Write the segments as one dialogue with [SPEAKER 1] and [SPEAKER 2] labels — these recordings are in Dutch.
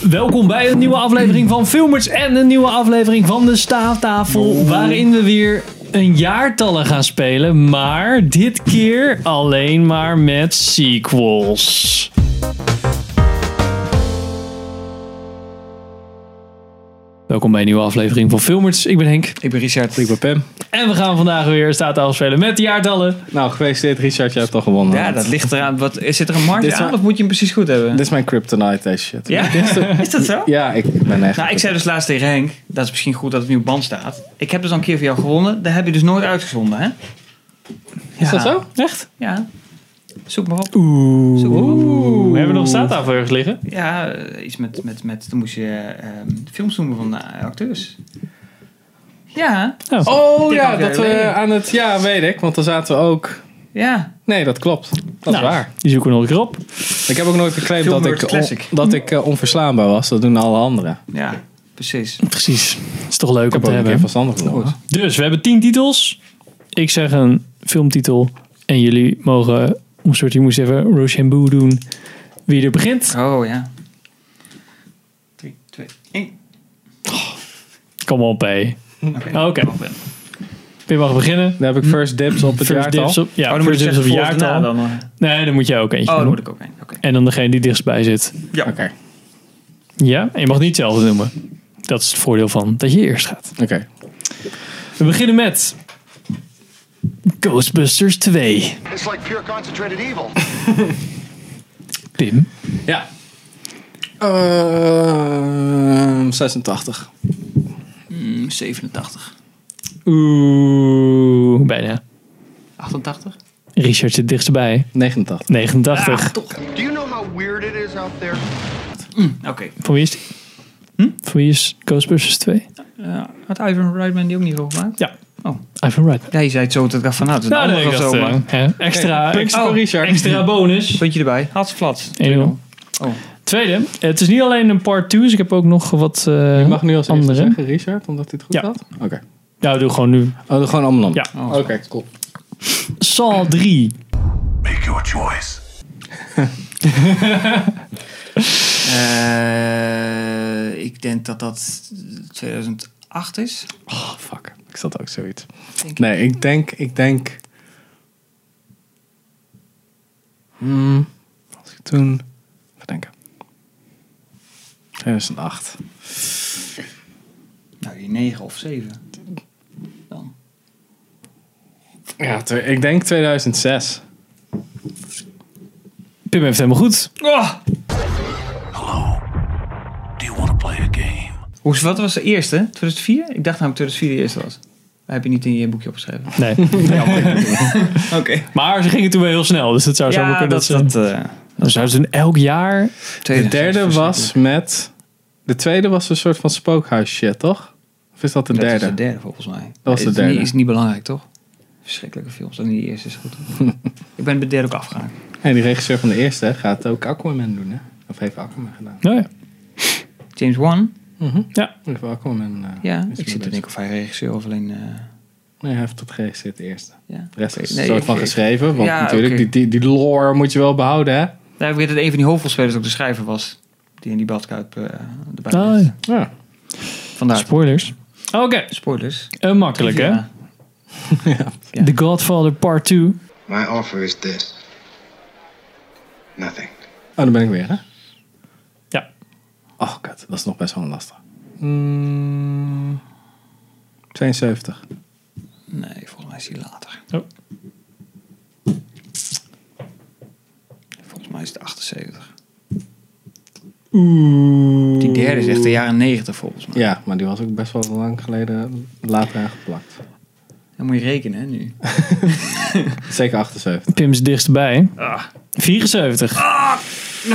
[SPEAKER 1] Welkom bij een nieuwe aflevering van Filmers en een nieuwe aflevering van de Staaftafel. Waarin we weer een jaartallen gaan spelen, maar dit keer alleen maar met sequels. Welkom bij een nieuwe aflevering van Filmers. Ik ben Henk.
[SPEAKER 2] Ik ben Richard. Ik ben Pam.
[SPEAKER 1] En we gaan vandaag weer Staaftafel spelen met de jaartallen.
[SPEAKER 3] Nou, gefeliciteerd Richard, jij hebt al gewonnen.
[SPEAKER 2] Ja, dat ligt eraan. Wat, zit er een markt
[SPEAKER 3] Dit
[SPEAKER 2] aan
[SPEAKER 3] is-
[SPEAKER 2] of moet je hem precies goed hebben?
[SPEAKER 3] Dit is mijn kryptonite, deze shit.
[SPEAKER 2] Ja? Is dat zo?
[SPEAKER 3] Ja, ik ben echt...
[SPEAKER 2] Nou, ik zei dus laatst tegen Henk, dat is misschien goed dat het nu op band staat. Ik heb dus al een keer voor jou gewonnen. Dat heb je dus nooit uitgezonden, hè?
[SPEAKER 3] Is dat zo?
[SPEAKER 1] Echt?
[SPEAKER 2] Ja. Zoek maar op. Zoek maar op.
[SPEAKER 1] We hebben nog staattafel ergens liggen.
[SPEAKER 2] Ja, eh, iets met, met, met... Toen moest je ehm, films noemen van eh, acteurs. Ja.
[SPEAKER 3] Oh
[SPEAKER 2] Dit
[SPEAKER 3] ja,
[SPEAKER 2] kan weer
[SPEAKER 3] dat we
[SPEAKER 2] alleen.
[SPEAKER 3] aan het... Ja, weet ik, want dan zaten we ook...
[SPEAKER 2] Ja.
[SPEAKER 3] Nee, dat klopt. Dat
[SPEAKER 1] Nou,
[SPEAKER 3] is waar.
[SPEAKER 1] Die zoeken we nog een keer op.
[SPEAKER 3] Ik heb ook nooit geclaimd dat
[SPEAKER 2] Filmworks
[SPEAKER 3] ik,
[SPEAKER 2] Classic.
[SPEAKER 3] on- dat ik eh, onverslaanbaar was. Dat doen alle anderen. Ik
[SPEAKER 2] Ja. Precies.
[SPEAKER 1] Precies. Is toch leuk om
[SPEAKER 3] heb
[SPEAKER 1] te
[SPEAKER 3] ook een
[SPEAKER 1] hebben.
[SPEAKER 3] keer verstandig genomen.
[SPEAKER 1] Dus we hebben 10 titels. Ik zeg een filmtitel. En jullie mogen, om soort, je moest even Rochambeau doen. Wie er begint.
[SPEAKER 2] Oh, ja. 3, 2, 1.
[SPEAKER 1] Kom op, hé. Oh,
[SPEAKER 2] Oké.
[SPEAKER 1] Oké. Pim mag beginnen.
[SPEAKER 3] Dan heb ik first dibs op het
[SPEAKER 1] First
[SPEAKER 3] jaartal.
[SPEAKER 1] dips op, ja,
[SPEAKER 2] Oh, dan moet
[SPEAKER 1] first
[SPEAKER 2] je
[SPEAKER 1] dips op
[SPEAKER 2] zeggen volgens daarna
[SPEAKER 1] jaartal.
[SPEAKER 2] dan. hoor.
[SPEAKER 1] Nee, dan moet jij ook eentje
[SPEAKER 2] Oh, dan
[SPEAKER 1] doen.
[SPEAKER 2] moet ik ook een. Oké.
[SPEAKER 1] En dan degene die dichtstbij zit.
[SPEAKER 3] Oké,
[SPEAKER 1] Ja, en je mag niet hetzelfde noemen. Dat is het voordeel van dat je eerst gaat.
[SPEAKER 3] oké.
[SPEAKER 1] We beginnen met... Ghostbusters 2.
[SPEAKER 4] It's like pure concentrated evil.
[SPEAKER 1] Pim.
[SPEAKER 3] Ja. Ehm, 86.
[SPEAKER 2] Mm, 87.
[SPEAKER 1] Oeh, bijna.
[SPEAKER 2] 88?
[SPEAKER 1] Richard zit dichtstbij.
[SPEAKER 3] 89.
[SPEAKER 1] 89.
[SPEAKER 4] Do you know how weird it is out there?
[SPEAKER 2] Oké.
[SPEAKER 1] Van wie is die?
[SPEAKER 3] Hm?
[SPEAKER 1] Van wie is Ghostbusters 2?
[SPEAKER 2] had Ivan Reitman die ook niet hoog gemaakt?
[SPEAKER 1] Ja.
[SPEAKER 2] Oh.
[SPEAKER 1] Ivan Wright.
[SPEAKER 2] Ja, je zei het zo dat ik dacht van nou, het is een
[SPEAKER 1] Nou,
[SPEAKER 2] ander
[SPEAKER 1] nee,
[SPEAKER 2] of zo.
[SPEAKER 1] dat,
[SPEAKER 2] maar-
[SPEAKER 1] eh, hè, extra,
[SPEAKER 3] Puntje
[SPEAKER 1] extra,
[SPEAKER 3] voor Richard.
[SPEAKER 1] extra bonus.
[SPEAKER 2] Puntje erbij. Hatsflats.
[SPEAKER 1] 1-0.
[SPEAKER 2] Oh.
[SPEAKER 1] Tweede, het is niet alleen een part 2, dus ik heb ook nog wat eh,
[SPEAKER 3] Mag nu als eerste
[SPEAKER 1] andere.
[SPEAKER 3] zeggen, Richard, omdat hij het goed
[SPEAKER 1] Ja.
[SPEAKER 3] had? Oké.
[SPEAKER 1] Ja, doe gewoon nu.
[SPEAKER 3] Oh, doe gewoon allemaal
[SPEAKER 1] Ja.
[SPEAKER 3] dan? Oké, cool.
[SPEAKER 1] Saw 3.
[SPEAKER 4] Make your choice.
[SPEAKER 2] Eh, ik denk dat dat 2008 is.
[SPEAKER 3] Oh, fuck. Ik zat ook zoiets.
[SPEAKER 2] Denk ik.
[SPEAKER 3] nee, ik denk... Ik denk... Hmm, als ik toen... Even denken. 2008.
[SPEAKER 2] Nou, die 9 of 7. Dan.
[SPEAKER 3] Ja, tw- ik denk 2006.
[SPEAKER 1] Pim heeft helemaal goed.
[SPEAKER 2] Oh!
[SPEAKER 4] Do you want to play a game?
[SPEAKER 2] Hoe, wat was de eerste? 2004? Ik dacht namelijk 2004 de eerste was. Dat heb je niet in je boekje opgeschreven.
[SPEAKER 1] Nee.
[SPEAKER 2] Oké.
[SPEAKER 1] maar ze gingen toen wel heel snel, dus het zou zo
[SPEAKER 2] Ja,
[SPEAKER 1] kunnen
[SPEAKER 2] dat,
[SPEAKER 1] dat,
[SPEAKER 2] dat,
[SPEAKER 1] ze...
[SPEAKER 2] eh,
[SPEAKER 1] dan zouden ze in elk jaar...
[SPEAKER 3] De
[SPEAKER 2] tweede
[SPEAKER 3] derde
[SPEAKER 2] was
[SPEAKER 3] was met... De tweede was een soort van spookhuis shit, toch? Of is dat de
[SPEAKER 2] Dat
[SPEAKER 3] derde?
[SPEAKER 2] was de derde volgens mij.
[SPEAKER 3] Dat was de
[SPEAKER 2] is
[SPEAKER 3] derde.
[SPEAKER 2] Niet, is niet belangrijk toch? Verschrikkelijke films. Dan die eerste is goed. ik ben bij de derde ook afgegaan.
[SPEAKER 3] En die regisseur van de eerste gaat ook Aquaman doen, hè? Of heeft Aquaman gedaan.
[SPEAKER 1] Nou ja.
[SPEAKER 2] James Wan.
[SPEAKER 1] Ja.
[SPEAKER 3] Of Aquaman... eh,
[SPEAKER 2] Ja.
[SPEAKER 3] is
[SPEAKER 2] ik
[SPEAKER 3] mee
[SPEAKER 2] zit te
[SPEAKER 3] bezig.
[SPEAKER 2] denken of hij regisseur of alleen. eh,
[SPEAKER 3] Nee, hij heeft dat geregistreerd de eerste.
[SPEAKER 2] ja.
[SPEAKER 3] De rest is een
[SPEAKER 2] Nee,
[SPEAKER 3] soort
[SPEAKER 2] ik-
[SPEAKER 3] van
[SPEAKER 2] ik-
[SPEAKER 3] geschreven. Want
[SPEAKER 2] Ja,
[SPEAKER 3] natuurlijk,
[SPEAKER 2] oké.
[SPEAKER 3] die, die, die lore moet je wel behouden, hè?
[SPEAKER 2] Daar heb ik dat een van die hoofdrolspelers ook de schrijver was. Die in die badkuip eh erbij
[SPEAKER 1] Ah,
[SPEAKER 2] zit.
[SPEAKER 1] ja.
[SPEAKER 3] Ja.
[SPEAKER 2] Vandaar.
[SPEAKER 1] Spoilers. Oké,
[SPEAKER 2] Spoilers.
[SPEAKER 1] een makkelijk hè.
[SPEAKER 2] Ja. Ja.
[SPEAKER 1] The Godfather Part 2.
[SPEAKER 5] My offer is this nothing.
[SPEAKER 3] Oh, daar ben ik weer, hè?
[SPEAKER 1] Ja.
[SPEAKER 3] Oh, god, dat is nog best wel een lastig.
[SPEAKER 2] Mm.
[SPEAKER 3] 72.
[SPEAKER 2] Nee, volgens mij is die later.
[SPEAKER 1] Oh.
[SPEAKER 2] Volgens mij is het 78.
[SPEAKER 1] Oeh.
[SPEAKER 2] Die derde is echt de jaren 90 volgens mij.
[SPEAKER 3] Ja, maar die was ook best wel lang geleden later aangeplakt.
[SPEAKER 2] Dan moet je rekenen hè, nu.
[SPEAKER 3] Zeker 78.
[SPEAKER 1] Pim is dichtstbij. 74.
[SPEAKER 6] The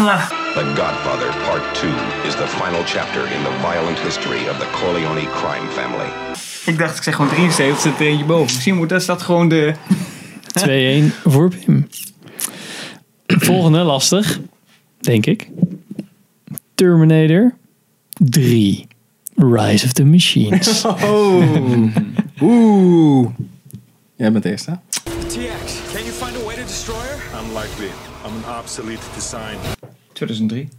[SPEAKER 6] Godfather Part 2 is the final chapter in the violent history of the Corleone crime family.
[SPEAKER 2] Ik dacht, ik zeg gewoon 73, zit er eentje boven. Misschien moet, is dat gewoon de...
[SPEAKER 1] 2-1 voor Pim. Volgende, lastig. Denk ik. Terminator 3. Rise of the Machines.
[SPEAKER 3] Oeh. Jij bent de eerste, hè?
[SPEAKER 7] TX, can you find a way to destroy her?
[SPEAKER 8] Unlikely. I'm an obsolete design.
[SPEAKER 2] 2003.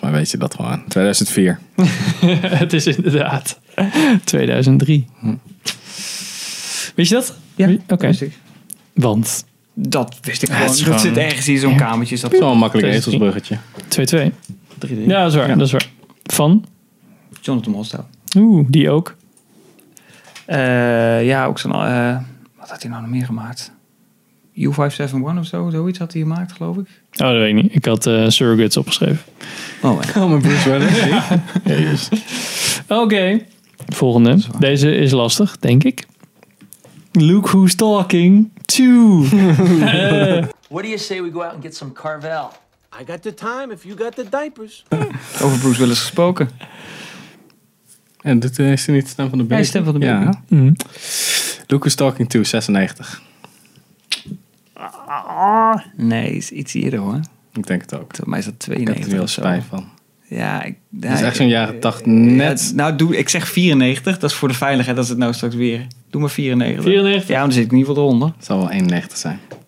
[SPEAKER 3] weet je dat gewoon. 2004.
[SPEAKER 1] Het is inderdaad Hm. 2003. Weet je dat?
[SPEAKER 2] Ja,
[SPEAKER 1] Oké.
[SPEAKER 2] wist ik.
[SPEAKER 1] Want
[SPEAKER 2] Dat wist ik
[SPEAKER 3] Ja,
[SPEAKER 2] gewoon.
[SPEAKER 3] het is
[SPEAKER 2] Dat
[SPEAKER 3] gewoon-
[SPEAKER 2] zit ergens in zo'n kamertje. is Dat
[SPEAKER 3] Zo'n makkelijk ezelsbruggetje.
[SPEAKER 1] 2-2.
[SPEAKER 2] 3D.
[SPEAKER 1] Ja, dat is waar. Dat is waar. Van?
[SPEAKER 2] Jonathan Mostow.
[SPEAKER 1] Oeh, die ook.
[SPEAKER 2] Eh, ja, ook zo'n... eh, wat had hij nou nog meer gemaakt? U571 of zo, zoiets had hij gemaakt, geloof ik.
[SPEAKER 1] Oh, dat weet ik niet. Ik had eh, Surrogates opgeschreven.
[SPEAKER 2] Oh,
[SPEAKER 3] Oh, mijn Bruce Willis. Jezus.
[SPEAKER 1] Oké. Volgende. Deze is lastig, denk ik. Look who's talking to.
[SPEAKER 5] What do you say we go out and get some Carvel?
[SPEAKER 8] I got the time if you got the diapers.
[SPEAKER 2] Over Bruce Willis gesproken.
[SPEAKER 3] En dit eh, is hij niet de stem van de baby?
[SPEAKER 2] hij is de stem van de baby.
[SPEAKER 3] Ja. Look who's talking to, 96.
[SPEAKER 2] Nee, is iets eerder hoor.
[SPEAKER 3] Ik denk het ook.
[SPEAKER 2] Voor mij is dat
[SPEAKER 3] Ik heb er
[SPEAKER 2] 92
[SPEAKER 3] heel
[SPEAKER 2] of zo.
[SPEAKER 3] spijt van.
[SPEAKER 2] Ja, ik...
[SPEAKER 3] Het is
[SPEAKER 2] ja,
[SPEAKER 3] echt zo'n jaren 80 net.
[SPEAKER 2] Ja, nou, doe, ik zeg 94. Dat is voor de veiligheid. Dat is het nou straks weer. Doe maar 94.
[SPEAKER 1] 94.
[SPEAKER 2] Ja, maar dan zit ik in ieder geval eronder.
[SPEAKER 3] Het zal wel 91 zijn.
[SPEAKER 2] Was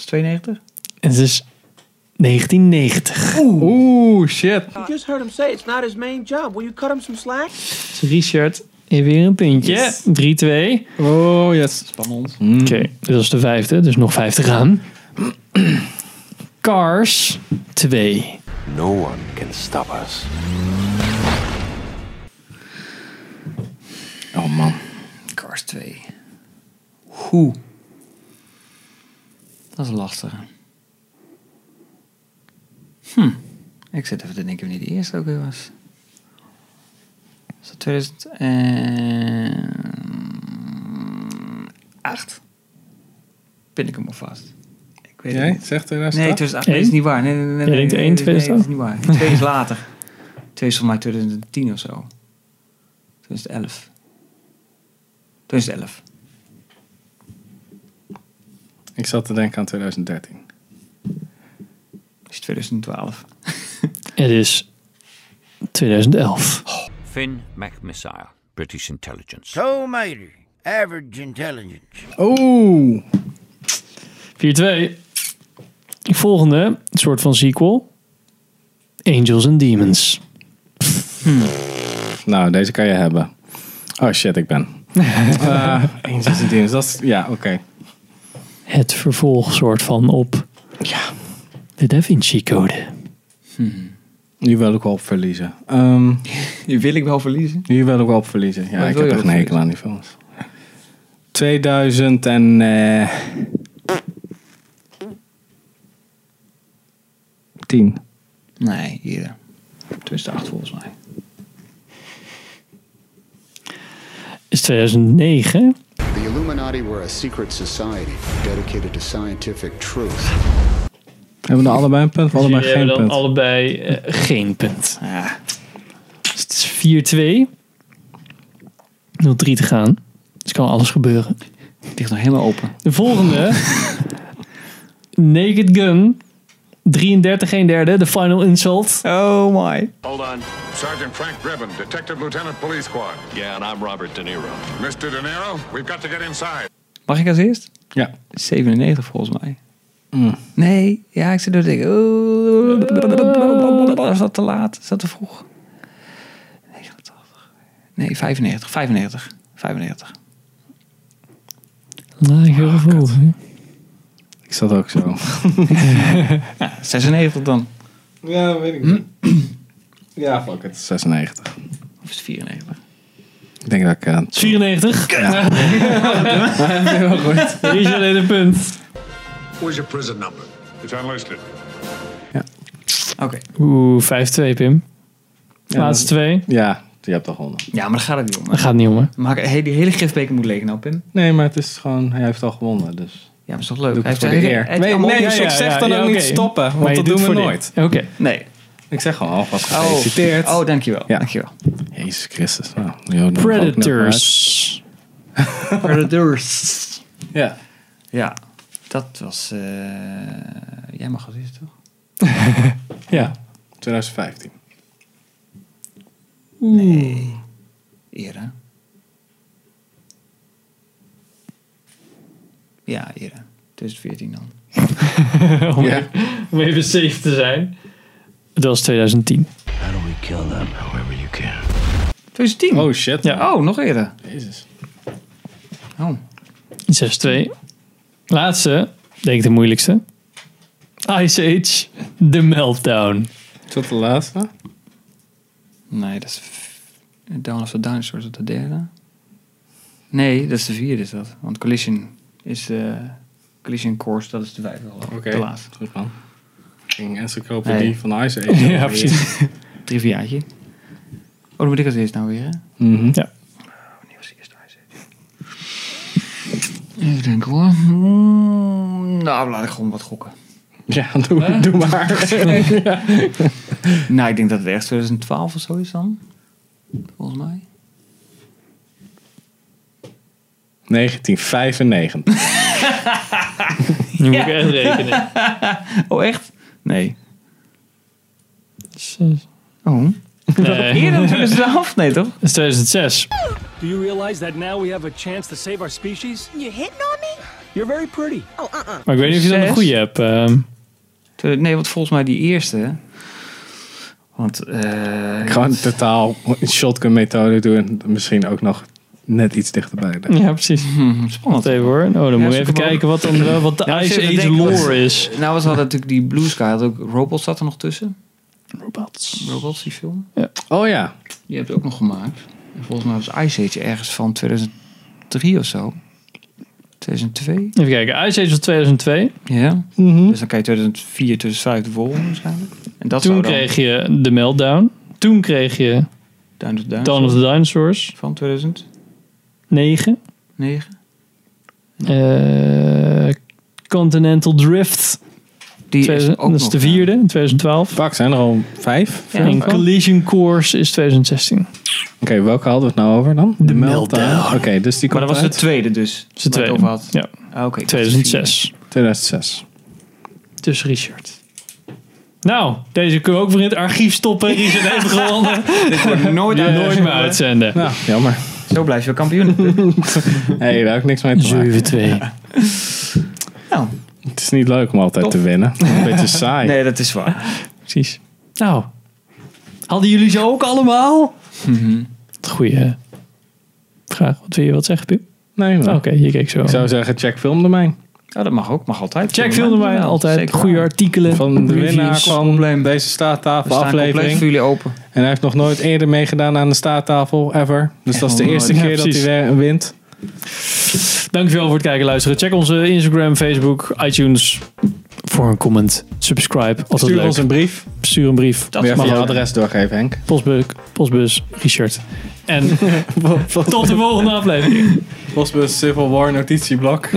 [SPEAKER 2] het 92?
[SPEAKER 1] Het is 1990.
[SPEAKER 3] Oeh, shit.
[SPEAKER 8] You just heard him say it's not his main job. Will you cut him some slack?
[SPEAKER 1] Dus Richard heeft weer een puntje. 3-2.
[SPEAKER 3] Oh, yes.
[SPEAKER 2] Spannend.
[SPEAKER 1] Oké, dit was de vijfde, dus nog vijf te gaan. Cars 2.
[SPEAKER 4] No one can stop us.
[SPEAKER 3] Oh man.
[SPEAKER 2] Cars 2. Hoe? Dat is lastig. Hm. Ik zit even te denken wanneer die eerste ook weer was. Is dat 2008? Pin ik hem al vast. Ik weet het
[SPEAKER 3] Jij
[SPEAKER 2] niet.
[SPEAKER 3] zegt
[SPEAKER 2] Nee,
[SPEAKER 3] 2008?
[SPEAKER 2] 2008 nee, dat is niet waar. Nee, nee, nee, nee,
[SPEAKER 1] denkt
[SPEAKER 2] nee,
[SPEAKER 1] één,
[SPEAKER 2] nee, nee, dat is
[SPEAKER 1] 2008?
[SPEAKER 2] niet waar. Twee is later. Twee is volgens mij 2010 of zo. 2011. 2011.
[SPEAKER 3] Ik zat te denken aan 2013.
[SPEAKER 2] Is 2012.
[SPEAKER 1] Het is 2011.
[SPEAKER 9] Finn MacMissile, British intelligence.
[SPEAKER 10] Toll Mater, average intelligence.
[SPEAKER 3] Oeh.
[SPEAKER 1] 4-2. Volgende, een soort van sequel. Angels and Demons.
[SPEAKER 3] Nou, deze kan je hebben. Oh shit, ik ben. Eh, Angels and Demons, dat is... Ja, oké.
[SPEAKER 1] Het vervolg soort van op
[SPEAKER 3] Ja.
[SPEAKER 1] de Da Vinci Code.
[SPEAKER 3] Nu wil ik wel op verliezen. Ehm,
[SPEAKER 2] Die wil ik wel verliezen.
[SPEAKER 3] nu wil ik wel op verliezen. Ja,
[SPEAKER 2] Wat
[SPEAKER 3] ik
[SPEAKER 2] wil
[SPEAKER 3] heb
[SPEAKER 2] je
[SPEAKER 3] echt
[SPEAKER 2] op
[SPEAKER 3] een hekel
[SPEAKER 2] verliezen?
[SPEAKER 3] aan die films. 2000 en... eh 10.
[SPEAKER 2] Nee, hier. 2008 volgens mij.
[SPEAKER 1] Is 2009.
[SPEAKER 11] The Illuminati were a secret society dedicated to scientific truth.
[SPEAKER 3] Hebben we er allebei een punt? Of allebei
[SPEAKER 1] Dus Jullie hebben
[SPEAKER 3] geen
[SPEAKER 1] dan
[SPEAKER 3] punt?
[SPEAKER 1] allebei eh, geen punt.
[SPEAKER 2] Ja.
[SPEAKER 1] Dus het is 4-2. 0-3 te gaan. Dus kan alles gebeuren.
[SPEAKER 2] Het ligt nog helemaal open.
[SPEAKER 1] De volgende. Naked Gun. 33 1 derde. De final insult.
[SPEAKER 2] Oh my.
[SPEAKER 4] Hold on.
[SPEAKER 6] Sergeant Frank Drebin, Detective Lieutenant Police Squad.
[SPEAKER 4] Yeah, and I'm Robert De Niro.
[SPEAKER 6] Mr. De Niro, we've got to get inside.
[SPEAKER 2] Mag ik als eerst?
[SPEAKER 3] Ja.
[SPEAKER 2] 97 volgens mij. Hmm. Nee, ja, ik zit er te denken. Oh, Is dat te laat? Is dat te vroeg? 89. Nee, 95. 95. 95. Oh,
[SPEAKER 1] Lager gevoel. hè?
[SPEAKER 3] Ik zat ook zo.
[SPEAKER 2] 96 dan.
[SPEAKER 3] Ja, weet ik niet. Ja, fuck het. 96.
[SPEAKER 2] Of is het 94?
[SPEAKER 3] Ik denk dat ik... eh,
[SPEAKER 1] 94. Ja. Richard heeft een punt.
[SPEAKER 6] Where's your prison number? It's unlisted.
[SPEAKER 2] Oké.
[SPEAKER 1] Oeh, 5-2 Pim.
[SPEAKER 3] ja,
[SPEAKER 1] Laatste twee.
[SPEAKER 3] Ja, je hebt al gewonnen.
[SPEAKER 2] Ja, maar daar gaat het niet om. hè.
[SPEAKER 1] Dat gaat niet om hè.
[SPEAKER 2] Maar hey, die hele gifbeker moet leeg nou, Pim.
[SPEAKER 3] Nee, maar het is gewoon... Hij heeft al gewonnen, dus...
[SPEAKER 2] Ja, maar is toch leuk?
[SPEAKER 3] Doe ik
[SPEAKER 2] Hij
[SPEAKER 3] het
[SPEAKER 2] heeft
[SPEAKER 3] voor de eer.
[SPEAKER 2] hij- hij- allemaal opgezocht.
[SPEAKER 3] zeg dan ook niet
[SPEAKER 1] oké.
[SPEAKER 3] stoppen, want
[SPEAKER 1] je
[SPEAKER 3] dat
[SPEAKER 1] doet
[SPEAKER 3] doen we
[SPEAKER 1] voor dit.
[SPEAKER 3] nooit.
[SPEAKER 1] Oké.
[SPEAKER 2] Nee.
[SPEAKER 3] Ik zeg gewoon alvast gefeliciteerd.
[SPEAKER 2] Oh, dankjewel.
[SPEAKER 3] Ja.
[SPEAKER 2] Dankjewel.
[SPEAKER 3] Jezus Christus. Nou, die houden we ook nog maar uit.
[SPEAKER 1] Predators.
[SPEAKER 2] Predators.
[SPEAKER 3] Ja.
[SPEAKER 2] Ja, dat was... eh, Jij mag als eerste, toch?
[SPEAKER 3] ja. 2015.
[SPEAKER 2] Eerder. Ja, eerder. 2014 dan.
[SPEAKER 1] Om
[SPEAKER 3] Ja.
[SPEAKER 1] om even safe te zijn. Dat was 2010.
[SPEAKER 4] How do we kill them? However you can.
[SPEAKER 2] 2010?
[SPEAKER 3] Oh shit.
[SPEAKER 2] Ja. Oh, nog eerder.
[SPEAKER 3] Jezus.
[SPEAKER 2] Oh.
[SPEAKER 1] 6-2. Laatste, denk ik de moeilijkste. Ice Age, The Meltdown.
[SPEAKER 3] Is dat de laatste?
[SPEAKER 2] Nee, dat is... Down of the Dinosaurs is de derde. Nee, dat is de vierde is dat. Want Collision is... eh, collision Course, dat is de vijfde. Oké.
[SPEAKER 3] Oké.
[SPEAKER 2] De laatste.
[SPEAKER 3] Goed man. Ging encyclopedie
[SPEAKER 2] Hey.
[SPEAKER 3] van Ice Age.
[SPEAKER 1] Ja, precies.
[SPEAKER 2] Triviaatje. Oh, dan moet ik als eerst nou weer, hè?
[SPEAKER 3] Mhm.
[SPEAKER 1] Ja.
[SPEAKER 2] Wanneer was de eerste Ice Age? Even denken hoor. Mm, nou, laat ik gewoon wat gokken.
[SPEAKER 3] Ja, doe, doe maar.
[SPEAKER 2] Nou, ik denk dat het ergens 2012 of zo is dan. Volgens mij.
[SPEAKER 3] 1995.
[SPEAKER 1] Nu moet ik echt rekenen.
[SPEAKER 2] Oh, echt? Nee.
[SPEAKER 1] Zes.
[SPEAKER 2] Oh.
[SPEAKER 1] Nee,
[SPEAKER 2] Eerder dan 2012? Nee, toch?
[SPEAKER 1] dat is 2006.
[SPEAKER 7] Do you realize that now we have a chance to save our species?
[SPEAKER 12] You hitting on me?
[SPEAKER 7] You're very pretty.
[SPEAKER 12] Oh, uh-uh.
[SPEAKER 1] Maar ik weet niet of je dan een
[SPEAKER 2] Zes.
[SPEAKER 1] goede hebt. ehm.
[SPEAKER 2] Twe- Nee, want volgens mij die eerste. Want, eh.
[SPEAKER 3] Gewoon totaal shotgun methode doen. Misschien ook nog net iets dichterbij. denk ik.
[SPEAKER 1] ja, precies.
[SPEAKER 2] Hmm, spannend.
[SPEAKER 1] Even hoor. Oh, dan moet je
[SPEAKER 2] zoek
[SPEAKER 1] even
[SPEAKER 2] hem
[SPEAKER 1] kijken wat, dan, wel- wat de
[SPEAKER 2] Ja,
[SPEAKER 1] Ice
[SPEAKER 2] even
[SPEAKER 1] Age
[SPEAKER 2] denken, want-
[SPEAKER 1] lore is.
[SPEAKER 2] Nou, was hadden natuurlijk die Blue Sky. Had ook Robots zat er nog tussen.
[SPEAKER 1] Robots.
[SPEAKER 2] Robots, die film.
[SPEAKER 3] Oh ja.
[SPEAKER 2] Die heb je ook nog gemaakt. En volgens mij was Ice Age ergens van 2003 of zo. 2002?
[SPEAKER 1] Even kijken, Ice Age was 2002.
[SPEAKER 2] Ja.
[SPEAKER 1] Mhm.
[SPEAKER 2] Dus dan kan je 2004, 2005 de volgende waarschijnlijk. En dat
[SPEAKER 1] Toen
[SPEAKER 2] zou dan
[SPEAKER 1] kreeg je The Meltdown. Toen kreeg je
[SPEAKER 2] Down to Down
[SPEAKER 1] Dawn of the Dinosaurs.
[SPEAKER 2] van 2009.
[SPEAKER 1] 9. Eh, Continental Drift.
[SPEAKER 2] Die
[SPEAKER 1] Tweede-
[SPEAKER 2] is ook
[SPEAKER 1] dat is
[SPEAKER 2] nog
[SPEAKER 1] de
[SPEAKER 2] daar.
[SPEAKER 1] vierde, 2012.
[SPEAKER 3] Fuck, zijn er al vijf?
[SPEAKER 2] Ja.
[SPEAKER 3] Oké,
[SPEAKER 1] en Collision Course is 2016.
[SPEAKER 3] welke hadden we het nou over dan? De meltdown. Oké, dus die
[SPEAKER 2] Maar
[SPEAKER 3] komt
[SPEAKER 2] dat was de
[SPEAKER 3] uit
[SPEAKER 2] tweede dus.
[SPEAKER 1] Is de
[SPEAKER 2] waar je
[SPEAKER 1] tweede.
[SPEAKER 2] het over had.
[SPEAKER 1] Ja,
[SPEAKER 2] Ah, oké, ik dacht de vierde.
[SPEAKER 1] 2006.
[SPEAKER 3] 2006.
[SPEAKER 1] Dus Richard. Nou, deze kunnen we ook weer in het archief stoppen. Richard heeft gewonnen.
[SPEAKER 2] Dit wordt nooit
[SPEAKER 1] Die
[SPEAKER 2] uit.
[SPEAKER 1] nooit meer uitzenden.
[SPEAKER 3] Nou, jammer.
[SPEAKER 2] Zo blijf je kampioen.
[SPEAKER 3] Hé, hey, daar heb ik niks mee te maken.
[SPEAKER 1] 7-2.
[SPEAKER 2] nou,
[SPEAKER 3] Het is niet leuk om altijd te winnen. Een beetje saai.
[SPEAKER 2] nee, dat is waar.
[SPEAKER 1] Precies. Nou, hadden jullie ze ook allemaal? Mhm. Goeie vraag. Wat wil je wat zeggen, Pim?
[SPEAKER 3] Nee, maar.
[SPEAKER 1] Oké, je keek zo.
[SPEAKER 3] Ik zou zeggen, check filmdomein.
[SPEAKER 2] Ja, Oh, dat mag ook. Mag altijd.
[SPEAKER 1] Check filmen mij
[SPEAKER 2] Jawel,
[SPEAKER 1] altijd.
[SPEAKER 2] zeker
[SPEAKER 1] Goede
[SPEAKER 2] waar.
[SPEAKER 1] artikelen.
[SPEAKER 3] Van de winnaar
[SPEAKER 1] reviews.
[SPEAKER 3] van deze
[SPEAKER 2] We
[SPEAKER 3] staattafel
[SPEAKER 2] staan compleet
[SPEAKER 3] aflevering.
[SPEAKER 2] voor jullie open.
[SPEAKER 3] En hij heeft nog nooit eerder meegedaan aan de staattafel, ever. Dus dat is de
[SPEAKER 2] nog
[SPEAKER 3] eerste
[SPEAKER 1] nooit.
[SPEAKER 3] keer
[SPEAKER 1] Ja,
[SPEAKER 3] dat hij weer wint.
[SPEAKER 1] Dankjewel voor het kijken en luisteren. Check onze Instagram, Facebook, iTunes. Voor een comment. Subscribe. Altijd
[SPEAKER 3] Stuur
[SPEAKER 1] leuk.
[SPEAKER 3] ons een brief.
[SPEAKER 1] Stuur een brief.
[SPEAKER 3] Dat Weer even
[SPEAKER 1] mag
[SPEAKER 3] je
[SPEAKER 1] ook.
[SPEAKER 3] adres doorgeven, Henk.
[SPEAKER 1] Postbus, postbus, Richard. En tot de volgende aflevering.
[SPEAKER 3] Postbus Civil War notitieblok.